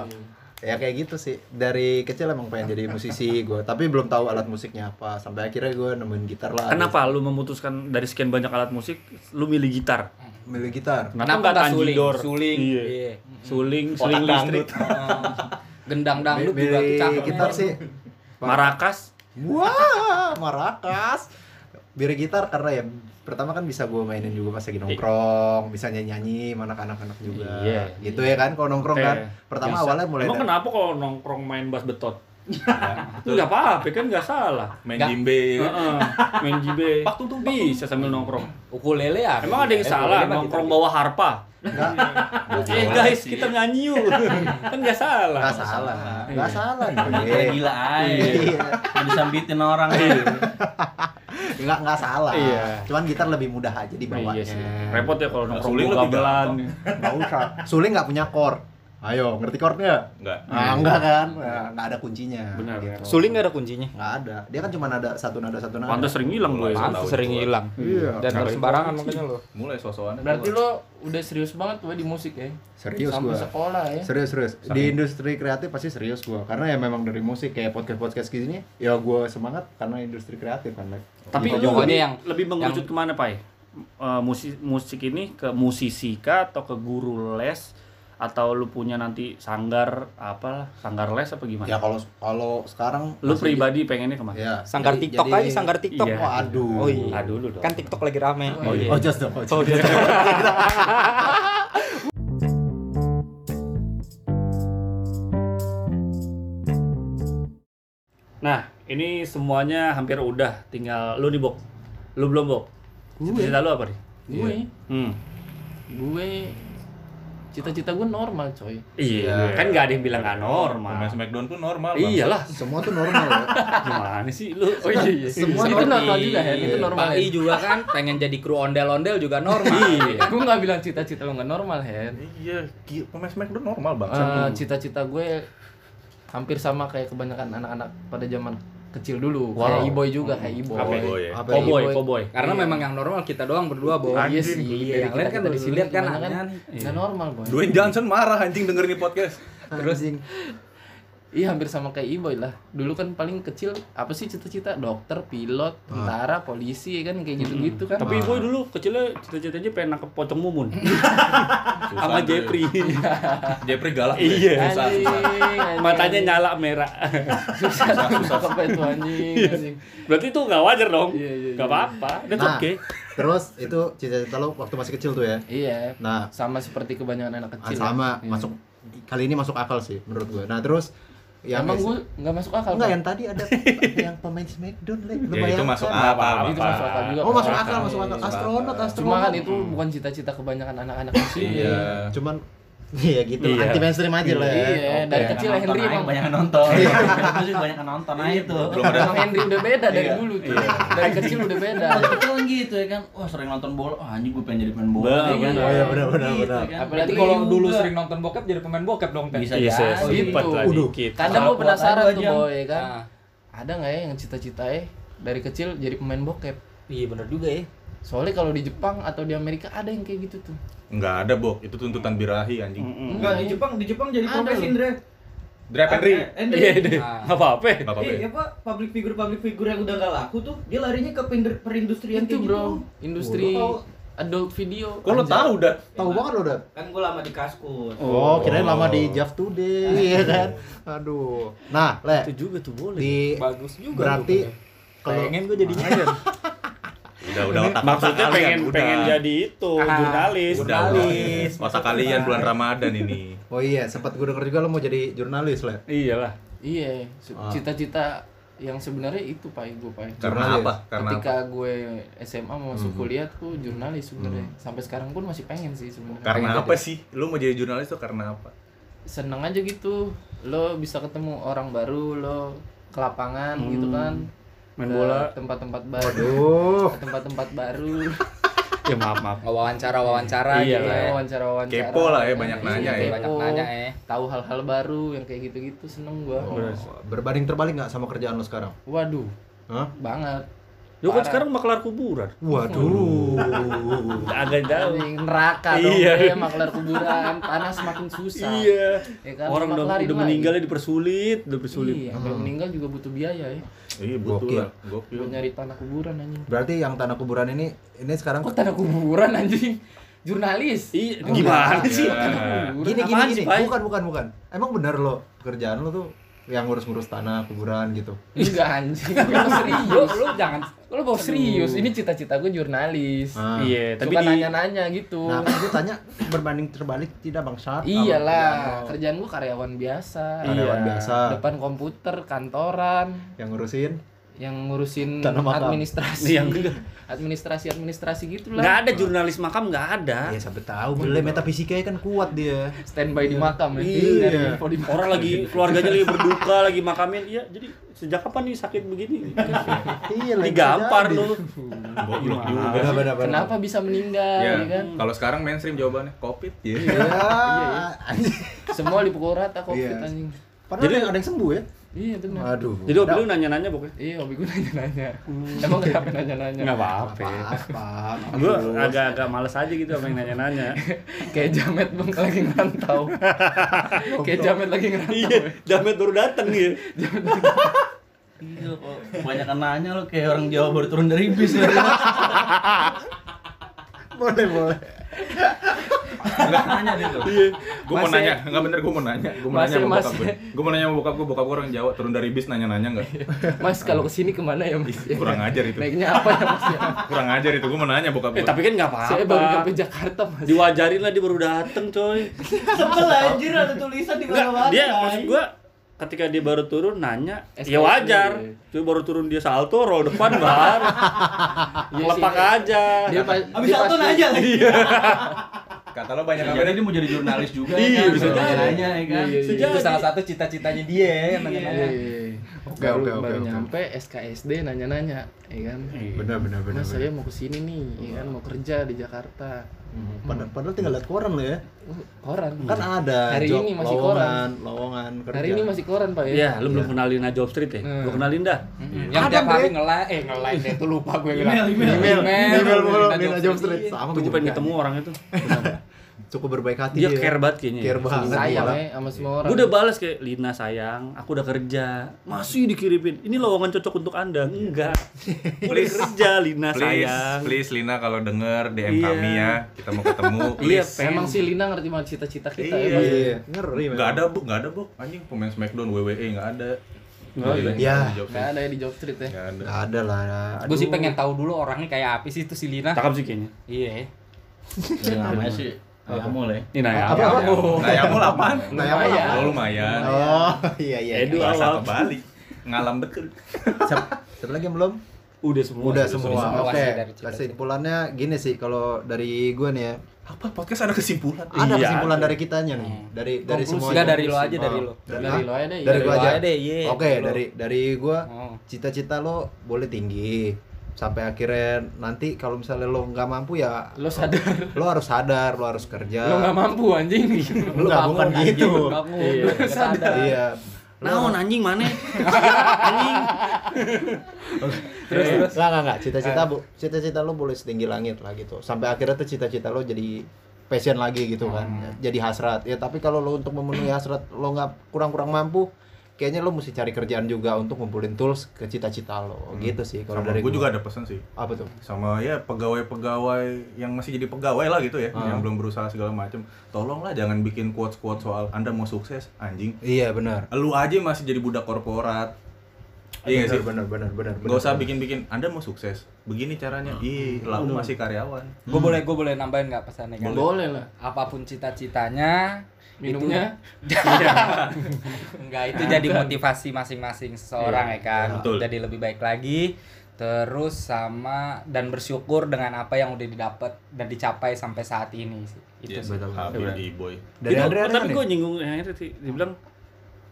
Ya kayak gitu sih. Dari kecil emang pengen jadi musisi gue, tapi belum tahu alat musiknya apa. Sampai akhirnya gue nemuin gitar lah.
Kenapa lu memutuskan dari sekian banyak alat musik, lu milih gitar?
Milih gitar.
Kenapa nggak
suling?
tanjidor?
Suling.
Iya.
Iya.
Suling,
Otak
suling listrik,
dangdut.
Gendang
Nah,
dangdut juga tuh
Milih
cakep.
gitar sih.
marakas.
Wah, marakas. Biri gitar karena ya pertama kan bisa gue mainin juga pas lagi nongkrong, bisa nyanyi-nyanyi sama anak-anak juga.
Iya.
gitu ya kan kalau nongkrong
Iya.
kan. Pertama
Biasa.
awalnya mulai
Emang
dari-
kenapa kalau nongkrong main bass betot? Enggak apa-apa, kan nggak salah.
Main
Nggak.
jimbe.
Heeh. Main jibe. Bisa sambil nongkrong.
Ukulele ada.
Emang ada yang
Eh,
salah
ukulele mah
nongkrong
gitu.
bawa harpa?
Nggak.
Eh guys, kita nyanyi yuk. kan nggak salah.
Nggak salah.
Iya.
Nggak salah.
Kayak
Dre.
gila aja.
Iya.
Mau disambitin orang.
Nggak nggak salah.
Iya.
Cuman gitar lebih mudah aja
Nah,
dibawanya.
iya sih. Repot ya kalau nongkrong
Suling
bawa
lebih
gamelan.
Nggak usah. Suling nggak punya chord. Ayo, ngerti chordnya?
Enggak.
Ah, enggak kan? Nah, nggak ada kuncinya.
Iya.
Gitu.
Benar, benar.
Suling gak ada kuncinya.
Nggak ada. Dia kan cuma ada satu nada satu nada.
Pantas sering hilang gue.
Pantes.
ya.
Tahu
sering
itu.
hilang.
Iya.
Dan harus sembarangan makanya lo.
Mulai sosokannya.
Berarti lo udah serius banget tuh di musik ya?
Serius
Sampai
gua. Iya.
sekolah ya?
Serius serius. Di industri kreatif pasti serius gua karena ya memang dari musik kayak podcast podcast gini ya gua semangat karena industri kreatif kan. Like.
Tapi
Iya,
lu
pokoknya
lebih,
yang-
lebih mengerucut kemana, Pai? musik musik ini ke musisi kah atau ke guru les atau lu punya nanti sanggar apalah sanggar les apa gimana?
Ya kalau kalau sekarang
lu
masih-
pribadi pengennya kemana?
Ya.
Sanggar
jadi-
TikTok
jadi-
aja, sanggar TikTok.
Iya.
Waduh.
Oh iya.
Aduh lu dong.
Kan TikTok lagi rame.
Oh iya.
Oh just dong. Oh, just.
Nah, ini semuanya hampir udah, tinggal lu nih, Bok. Lu belum, Bok. Cita-cita lu apa nih?
Gue,
Hmm.
gue cita-cita gue normal coy
Iya, kan nggak ada yang bilang nggak normal.
Pemain Smackdown pun normal. Bang.
Iyalah,
Semua tuh normal ya.
gimana sih lu? Oh iya, iya.
semua itu normal juga ya itu normal
Pak I juga kan pengen jadi kru ondel-ondel juga normal.
gue nggak bilang cita-cita lo nggak normal Hen
Iya, gi- pemain Smackdown normal bang.
Eh, cita-cita gue hampir sama kayak kebanyakan anak-anak pada zaman kecil dulu
Wow.
kayak iboy juga kayak iboy
Apa ya? Boy, ya?
Apa ini?
Cowboy,
Iya.
cowboy.
Karena memang yang normal kita doang berdua, Boy.
iya sih
Iya, yang lain kan udah dilihat kan aneh-aneh.
nggak normal boy
Dwayne Johnson marah anjing dengerin di podcast.
Anjing.
Iya hampir sama kayak Iboy lah. Dulu kan paling kecil apa sih cita-cita? Dokter, pilot, tentara, polisi ya kan kayak gitu-gitu kan.
Tapi gue dulu kecilnya cita-citanya pengen nangkep pocong mumun
Susah,
sama
Bang.
Jepri.
Jepri galak. Bang.
Iya.
Susah,
Anjing,
susah.
anjing.
Kan Matanya nyala merah.
susah apa itu anjing. anjing.
Berarti itu nggak wajar dong.
Iya, iya,
Nggak apa-apa. That's
Nah,
oke.
terus itu cita-cita lo waktu masih kecil tuh ya.
Iya.
Nah,
Sama seperti kebanyakan
ah,
anak kecil.
sama
Iya.
masuk kali ini masuk akal sih menurut gua. Nah, terus yang
Emang gue nggak masuk akal.
enggak
Pak?
yang tadi ada yang pemain Smackdown, Le. Lu
Ya, itu
bayangkan.
masuk apa?
Itu masuk akal juga.
Oh,
Pak.
masuk akal, masuk akal.
Iya.
Astronot, astronot.
Cuma kan itu bukan cita-cita kebanyakan anak-anak kecil. ya.
Iya.
cuman iya gitu
Iya.
anti mainstream aja lah ya.
Iya, dari kecil
Nonton
Henry
aja,
emang
banyak yang nonton. Masih banyak yang nonton aja itu.
Belum ada.
Emang Henry udah beda dari dulu tuh. Dari kecil udah beda.
Waktu kecil kan gitu ya kan. Wah, sering nonton bola. Wah, anjing gue pengen jadi pemain bola.
Bener,
Ya kan?
bener.
Oh iya, bener, bener,
Gitu
bener.
kan.
Berarti
Apalagi
kalau
Juga.
dulu sering nonton bokep jadi pemain bokep dong, Pen.
Bisa
Bisa
jadi.
selipat lah
Waduh.
dikit.
Kadang gue
Kuat-kuat
penasaran
aja
tuh
jam.
boy kan.
Ah.
Ada nggak ya yang cita-citanya dari kecil jadi pemain bokep?
Iya, bener juga ya.
Soalnya kalau di Jepang atau di Amerika ada yang kayak gitu tuh.
Enggak ada, Bok. Itu tuntutan birahi anjing.
Enggak, di Jepang, di Jepang jadi
Ada
profesi,
loh.
Andre.
Drap and Ri.
Andre.
Iya deh.
Ah.
Nggak apa-apa.
Enggak apa-apa.
Eh, Iya,
ya?
apa public figure public figure yang udah gak laku tuh, dia larinya ke perindu- perindustrian
Itu
kayak
bro,
gitu.
industri
Waduh.
adult video.
Kok lo tahu dah?
Tahu banget lo, Dat.
Kan gua lama di kaskus.
Oh, kirain lama di Jav Today, iya kan? Aduh. Nah, Le. Itu juga tuh boleh. Di
Bagus juga.
berarti kalau
pengen gue jadi nyender.
Udah, udah otak
Maksudnya pengen
udah.
pengen jadi itu jurnalis.
udah, udah. Otak kalian bulan Ramadan ini.
Oh iya, sempat gue denger juga lo mau jadi jurnalis, Le.
Iyalah.
Iya, se-
Ah.
cita-cita yang sebenarnya itu pai gue pai.
Karena
Jurnalis.
apa? Karena Mhm.
Ketika gue SMA mau masuk kuliah tuh jurnalis sebenarnya. Sampai sekarang pun masih pengen sih sebenarnya.
karena apa sih? Lu mau jadi jurnalis tuh karena apa?
Seneng aja gitu. Lo bisa ketemu orang baru, lo ke lapangan gitu
Hmm.
kan.
Main
Ke
bola.
tempat-tempat baru.
Aduh.
Ke tempat-tempat baru.
Ya maaf maaf. Iya
Wawancara-wawancara
lah
gitu.
Iya,
ya. Oh.
wawancara-wawancara.
Kepo lah ya, banyak
Iya,
nanya ya.
kepo.
Banyak nanya ya.
Tahu hal-hal baru yang kayak gitu-gitu seneng gua.
Oh,
Berbanding terbalik nggak sama kerjaan lo sekarang?
Waduh,
Hah?
banget.
Lu kan
Parah.
sekarang maklar kuburan.
Waduh.
Ah,
Agak jauh.
Anjing, neraka dong
Iya.
iya. maklar kuburan tanah semakin susah
Iya.
Ya kan,
Orang udah,
maklarin
udah
lagi.
meninggalnya dipersulit, udah bersulit.
iya kalau meninggal juga butuh biaya ya
Iya, butuh
Gokil.
lah. Gokil.
buat nyari tanah kuburan anjing
Berarti yang tanah kuburan ini ini sekarang
kok tanah kuburan anjing jurnalis
Iya, gimana sih?
Iya.
gini gini
Apaan
gini.
sih, Pai?
Bukan bukan bukan. Emang bener lo kerjaan lo tuh yang ngurus-ngurus tanah kuburan gitu.
enggak anjing lu serius lu jangan lu bawa serius ini cita-cita gue jurnalis
Ah.
Iya, tapi
suka
di
kan nanya-nanya gitu
Nah, kan gue tanya berbanding terbalik tidak bangsat.
iyalah kerjaan gue karyawan biasa
Karyawan
Iya.
biasa
depan komputer kantoran
yang ngurusin.
yang ngurusin
Tanah makam.
administrasi gitu.
Yang-
administrasi administrasi gitulah
nggak ada jurnalis makam nggak ada.
Ya sampai tahu boleh metafisikanya kan kuat dia.
standby di makam ya.
Iya.
Dari info di makam.
Orang lagi keluarganya lagi berduka, lagi makamin. Iya, jadi sejak kapan nih sakit begini?
Iya, lagi
Digampar
jadi.
lu.
Goblok juga.
Benar benar benar. Iya.
Kenapa bisa meninggal
Ya,
ya kan?
kalau sekarang mainstream jawabannya Covid ya.
Iya,
Ya.
Semua dipukul rata covid
Iya.
anjing.
Padahal ada yang- ada yang sembuh ya.
Iya benar.
Aduh.
Jadi hobi lu nanya-nanya pokoknya.
Iya, hobi gue nanya-nanya.
Hmm.
Emang kenapa nanya-nanya?
Nggak apa-apa.
Apa?
Gue agak-agak males aja gitu sama yang nanya-nanya.
Kayak jamet bang lagi ngerantau. Kayak jamet lagi ngerantau.
Iya, jamet baru dateng ya.
Iya.
Iya, kok. Kebanyakan nanya lo kayak orang Jawa baru turun dari bis ya. lo.
Boleh boleh.
Enggak nanya dia tuh. Gue mau
Masih-
nanya, enggak bener gue mau nanya. Gue mau nanya
Masih-
sama bokap
masih.
gue. Gue mau nanya sama bokap gue, bokap gue orang Jawa turun dari bis nanya-nanya enggak.
Iya.
Mas kalau kesini kemana ya mas? Ya,
Kurang ajar itu.
Naiknya apa ya mas? Ya?
Kurang ajar itu. Gue mau nanya bokap
Eh
gue.
tapi kan nggak
Saya baru
apa-apa.
nyampe Jakarta mas.
Diwajarin lah dia baru dateng coy.
Sebel anjir ada tulisan di
Nggak,
mana-mana.
dia maksud gue ketika dia baru turun nanya, ya
SKS,
wajar.
iya.
Dia baru turun dia salto, roll depan baru.
Iya sih,
Lepak
dia-
aja.
Dia, pa-
Abis
dia
satu
pasti-
nanya lagi.
Kata lo banyak
Bisa
yang
jadi
beda.
dia mau jadi jurnalis juga
Iya,
ya kan?
bisa jadi.
Nanya, ya kan?
Iya, iya,
Sejati.
itu salah satu cita-citanya
ya,
dia yang nanya-nanya.
Oke,
Oke, oke,
baru,
oke,
Iya, baru
oke. Iya.
nyampe SKSD nanya-nanya, ya kan?
Bener bener bener.
Mas saya mau kesini nih, ya kan mau kerja di Jakarta.
Hmm, Padahal, padahal tinggal lihat koran lo ya.
Uh, Koran.
Kan ada
Hari
job
ini masih koran.
lowongan, lowongan kerja.
Hari ini masih koran pak ya?
Iya, lu belum kenal Lina Job Street ya?
Hmm.
Gua kenalin dah.
Mm, Yang
Ada,
tiap hari
Bre.
nge-like, eh nge-like deh, itu lupa gue bilang.
Email, email.
email email email mulu,
Minta
Iya.
Minta
job
job
street.
street sama
Tuh
gue
gue pengen ketemu orang itu.
Cukup berbaik hati
Dia care banget kayaknya.
Iya. Care banget.
Sayang
Orang-
ya sama semua orang.
Gue udah balas kayak Lina sayang, aku udah kerja, masih dikirimin. Ini lowongan cocok untuk anda, enggak. Boleh kerja Lina
Please,
sayang.
please Lina kalau denger DM
Iya.
kami ya, kita mau ketemu.
Iya,
Please.
pengen.
Emang sih Lina ngerti banget cita-cita kita
Iya,
ya Mas?
iya. ngeri
Gak ada bu, gak ada bu. Anjing pemain Smackdown WWE gak ada.
Nggak ada.
Ya.
Nggak ada ya di job street ya.
Gak ada.
Gak ada lah.
Gue sih pengen tahu dulu orangnya kayak apa sih itu si Lina.
Cakep sih kayaknya.
Iya.
Ya, namanya sih Ayamul ya.
Ini nanya
Apa?
apa?
Nah, yang mul apaan?
Nah, yang mana?
Oh, lumayan.
Oh, iya iya.
Edu awal.
Bahasa kebalik. Ngalam deket.
Siapa siapa lagi yang belum?
Udah semua.
Udah
semua.
semua. Oke.
Sih, dari cerita-cerita.
Kesimpulannya gini sih kalau dari gue nih ya.
Apa podcast ada kesimpulan?
Ada
Iya.
kesimpulan dari kitanya nih. Dari dari
Konklusi.
semua.
Enggak dari lo aja, dari lo.
Dari, ah?
Dari lo aja deh.
Dari
iya.
gua
lo
aja.
deh, iya.
Oke,
Lo.
dari dari gua
Oh.
cita-cita lo boleh tinggi sampai akhirnya nanti kalau misalnya lo nggak mampu ya
Lo sadar
lo harus sadar lo harus kerja
lo nggak mampu anjing.
Lo nggak, bukan gitu
Iya.
Bangun, sadar.
iya
Naon anjing mana?
terus terus nggak nggak nggak cita-cita bu cita-cita lo boleh setinggi langit lah gitu sampai akhirnya tuh cita-cita lo jadi passion lagi gitu kan jadi hasrat ya tapi kalau lo untuk memenuhi hasrat lo nggak kurang-kurang mampu kayaknya lo mesti cari kerjaan juga untuk ngumpulin tools ke cita-cita lo gitu sih kalau
Sama
dari
gue
gua.
juga ada pesan sih.
apa tuh
sama ya pegawai-pegawai yang masih jadi pegawai lah gitu ya,
Ah.
yang belum berusaha segala macam. Tolonglah jangan bikin quotes-quotes soal Anda mau sukses, anjing.
iya benar
Lu aja masih jadi budak korporat. Iya nggak sih.
benar benar benar benar
Gak usah bikin-bikin Anda mau sukses. Begini caranya. Ih, lah lu masih karyawan.
Gue boleh gue boleh nambahin nggak pesannya kan?
Boleh lah.
Apapun cita-citanya,
Minumnya?
itu... enggak itu jadi motivasi masing-masing seseorang ya kan.
betul.
Jadi lebih baik lagi. Terus sama dan bersyukur dengan apa yang udah didapat dan dicapai sampai saat ini sih. Itu
Yes,
sih.
happy di boy.
dari
Itu,
Andre ada
tapi
nih?
gue nyinggung yang itu sih. Dia bilang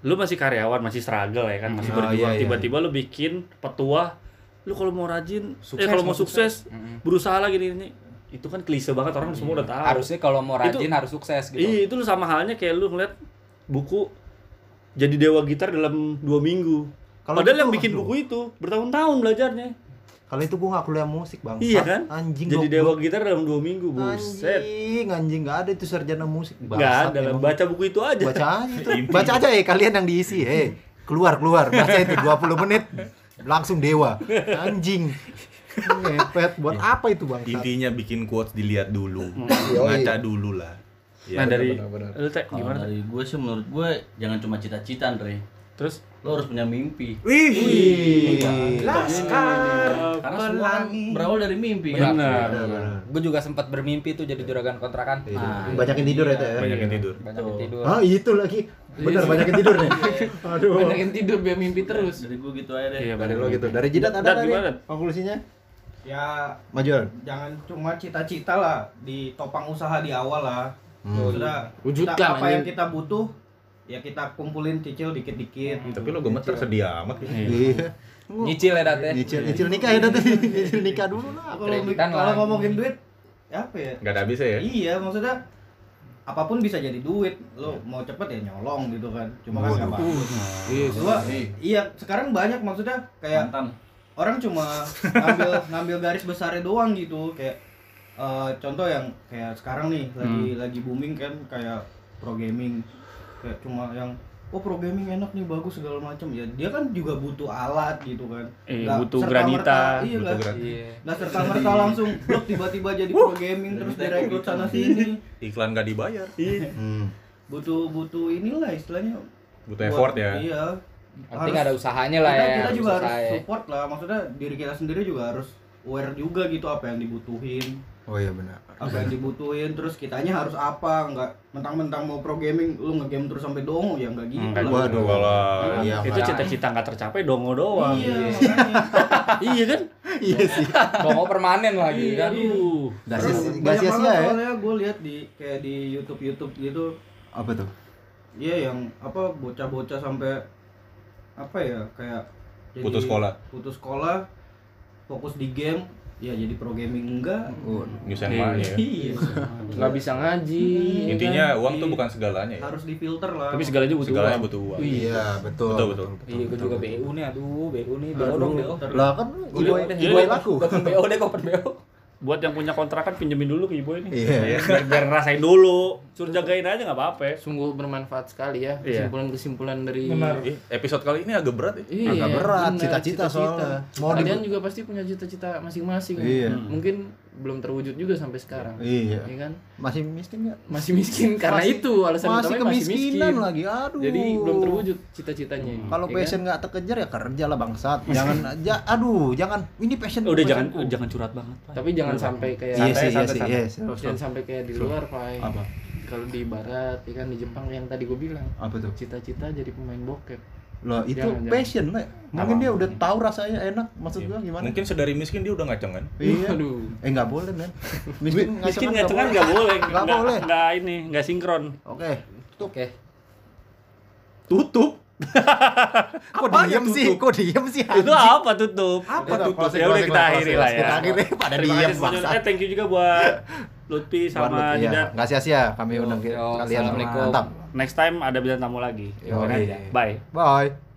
lu masih karyawan, masih struggle ya kan, masih
Oh,
berjuang.
iya, iya.
Tiba-tiba lu bikin petua, lu kalau mau rajin, eh
Sukses,
kalau mau
mau
sukses,
Mm-mm.
berusaha lagi ini, ini. Itu kan klise banget orang semua udah tahu.
Harusnya kalau mau rajin
Ah, Itu-
harus sukses gitu.
Iya, itu lu sama halnya kayak lu ngeliat buku jadi dewa gitar dalam dua minggu.
Kalau
Padahal yang
gitu,
bikin
aduh.
buku itu bertahun-tahun belajarnya.
Kalau itu gua gak kuliah musik bang.
Iya kan?
Anjing.
jadi
goblok.
dewa gitar dalam dua minggu, buset.
Anjing, anjing gak ada itu sarjana musik.
Gak
Bangsat
ada,
emang.
baca buku itu aja. Nah,
Baca aja itu. Baca aja ya kalian yang diisi. Eh, keluar keluar. Baca itu 20 menit langsung dewa. Anjing. Ngepet buat apa itu bang?
Intinya bikin quotes dilihat dulu.
Yoi.
Ngaca dulu lah. Ya,
nah dari
Iya, benar,
lu Teh,
Kalau
gimana? Teh?
dari gue sih menurut gue jangan cuma cita-cita, Andre.
Terus
Lo harus punya mimpi. Karena semua kan berawal dari
Iya,
mimpi kan.
benar. Iya,
Gue juga sempat bermimpi tuh jadi juragan kontrakan. Nah,
Ah,
Banyakin Iya. tidur ya teh.
Banyak yang tidur.
Banyak yang tidur.
Iya. Ah itu lagi. Bener banyakin tidur nih. Aduh.
Banyakin tidur biar mimpi terus.
Dari gue gitu aja deh.
Iya,
Dari
benar.
lo gitu. Dari jidat
Dan
ada
gimana?
nih konklusinya.
ya
Majuan.
jangan cuma cita-cita lah ditopang usaha di awal lah
Hmm.
sudah
Wujudkan,
kita- apa yang
anjing.
kita butuh ya kita kumpulin cicil dikit-dikit gitu.
Tapi lo gemeter sedih amat ya.
Iya.
Nyicil ya Date.
Nyicil, nyicil nikah ya nanti nyicil nikah dulu lah.
Nah, kalau
Kreditan
kalau
lagi.
ngomongin duit apa ya
Gak ada habisnya ya.
iya maksudnya apapun bisa jadi duit lo mau cepet ya nyolong gitu kan cuma kan nggak bagus Cuma, iya sekarang banyak maksudnya kayak
Mantan.
orang cuma ngambil ngambil garis besarnya doang gitu kayak eh, contoh yang kayak sekarang nih lagi lagi booming kan kayak pro gaming kayak cuma yang oh pro gaming enak nih bagus segala macam ya dia kan juga butuh alat gitu kan
Iya,
Nggak
butuh
serta-merta-
granita,
iya
butuh
nggak-
granita.
Iya.
nggak serta merta langsung blok tiba-tiba jadi pro gaming terus direkrut sana sini
Iklan gak dibayar.
Hmm.
butuh butuh inilah istilahnya
Butuh
buat-
effort ya.
iya
Penting
Harus-
ada usahanya lah
kita,
ya.
kita juga harus
usaha ya.
support lah maksudnya diri kita sendiri juga harus aware juga gitu apa yang dibutuhin
Oh iya benar.
apa yang dibutuhin terus kitanya harus apa nggak mentang-mentang mau pro gaming lu ngegame terus sampai dongo ya nggak gitu
Nggak
lah.
Waduh.
Walah.
Iya,
itu
makanya.
Iya, cita-cita nggak tercapai dongo doang.
iya makanya.
iya kan?
Iya sih.
Toko permanen lagi kan.
Aduh.
Gak
Terus
sia- gak
banyak
sia-sia
banget
ya.
soalnya gue lihat di kayak di YouTube YouTube gitu
Apa tuh?
Iya yang apa bocah-bocah sampai apa ya kayak jadi
Putus sekolah.
putus sekolah fokus di game ya jadi pro gaming enggak
Oh,
nyusahin banyak
Iya.
ya.
nggak bisa ngaji ya
Intinya
kan?
uang tuh bukan segalanya ya.
harus difilter lah
Tapi segalanya butuh
Segalanya
uang.
butuh uang.
Iya, betul.
Betul, betul.
Iya, gue juga BU nih, aduh, BU nih, BO dong, BO.
Lah kan ibu
deh,
ibu
Iboy
laku.
Open BO deh, open BO.
Buat yang punya kontrakan pinjemin dulu ke ibu ini. Biar,
Iya.
biar rasain dulu. Suruh jagain aja nggak apa-apa. ya.
sungguh bermanfaat sekali ya
Iya.
kesimpulan-kesimpulan dari
Ih, Episode kali ini agak berat ya.
Iya,
Agak berat,
bener,
cita-cita soalnya. Mau di-
Kalian juga pasti punya cita-cita masing-masing.
Iya.
Mungkin belum terwujud juga sampai sekarang.
Iya.
Iya kan?
Masih miskin nggak?
Masih miskin karena
Masih-
itu alasan
Masih
utamanya
kemiskinan lagi. Aduh.
Jadi belum terwujud cita-citanya.
Kalau
ya kan?
passion nggak terkejar ya kerja lah bangsat. Jangan aja, aduh, jangan. Ini passion.
Udah jangan
passionku.
jangan curhat banget. Pak.
tapi jangan sampai kayak
Iya sih, iya
santai,
sih,
santai.
iya sih.
jangan sampai kayak di luar, Pak.
Apa?
Kalau di barat, ya kan di Jepang yang tadi gue bilang,
Apa tuh?
cita-cita jadi pemain bokep.
Loh, itu
Jangan, jangan.
passion, Le. Mungkin dia udah tahu rasanya enak. Maksud gua gimana?
Mungkin sedari miskin dia udah ngaceng kan.
Iya.
Aduh.
Eh nggak boleh, men. Miskin
Miskin
nggak
ngacengan nggak boleh.
Nggak boleh.
Nggak ini, nggak sinkron.
Oke. Tutup.
Oke.
Tutup. Kok diem sih? Kok diem sih?
Itu apa tutup?
Apa
Udah,
tutup?
Ya udah kita akhiri lah ya.
Kita akhiri pada
Terima
diem
kasih semuanya.
bangsat.
Eh, thank you juga buat Lutfi
ya.
sama Didat.
Enggak sia-sia kami undang
Yo, yo,
kalian.
assalamualaikum.
Mantap.
Next time ada bintang tamu lagi.
Yo,
Keren.
iya.
Bye.
Bye.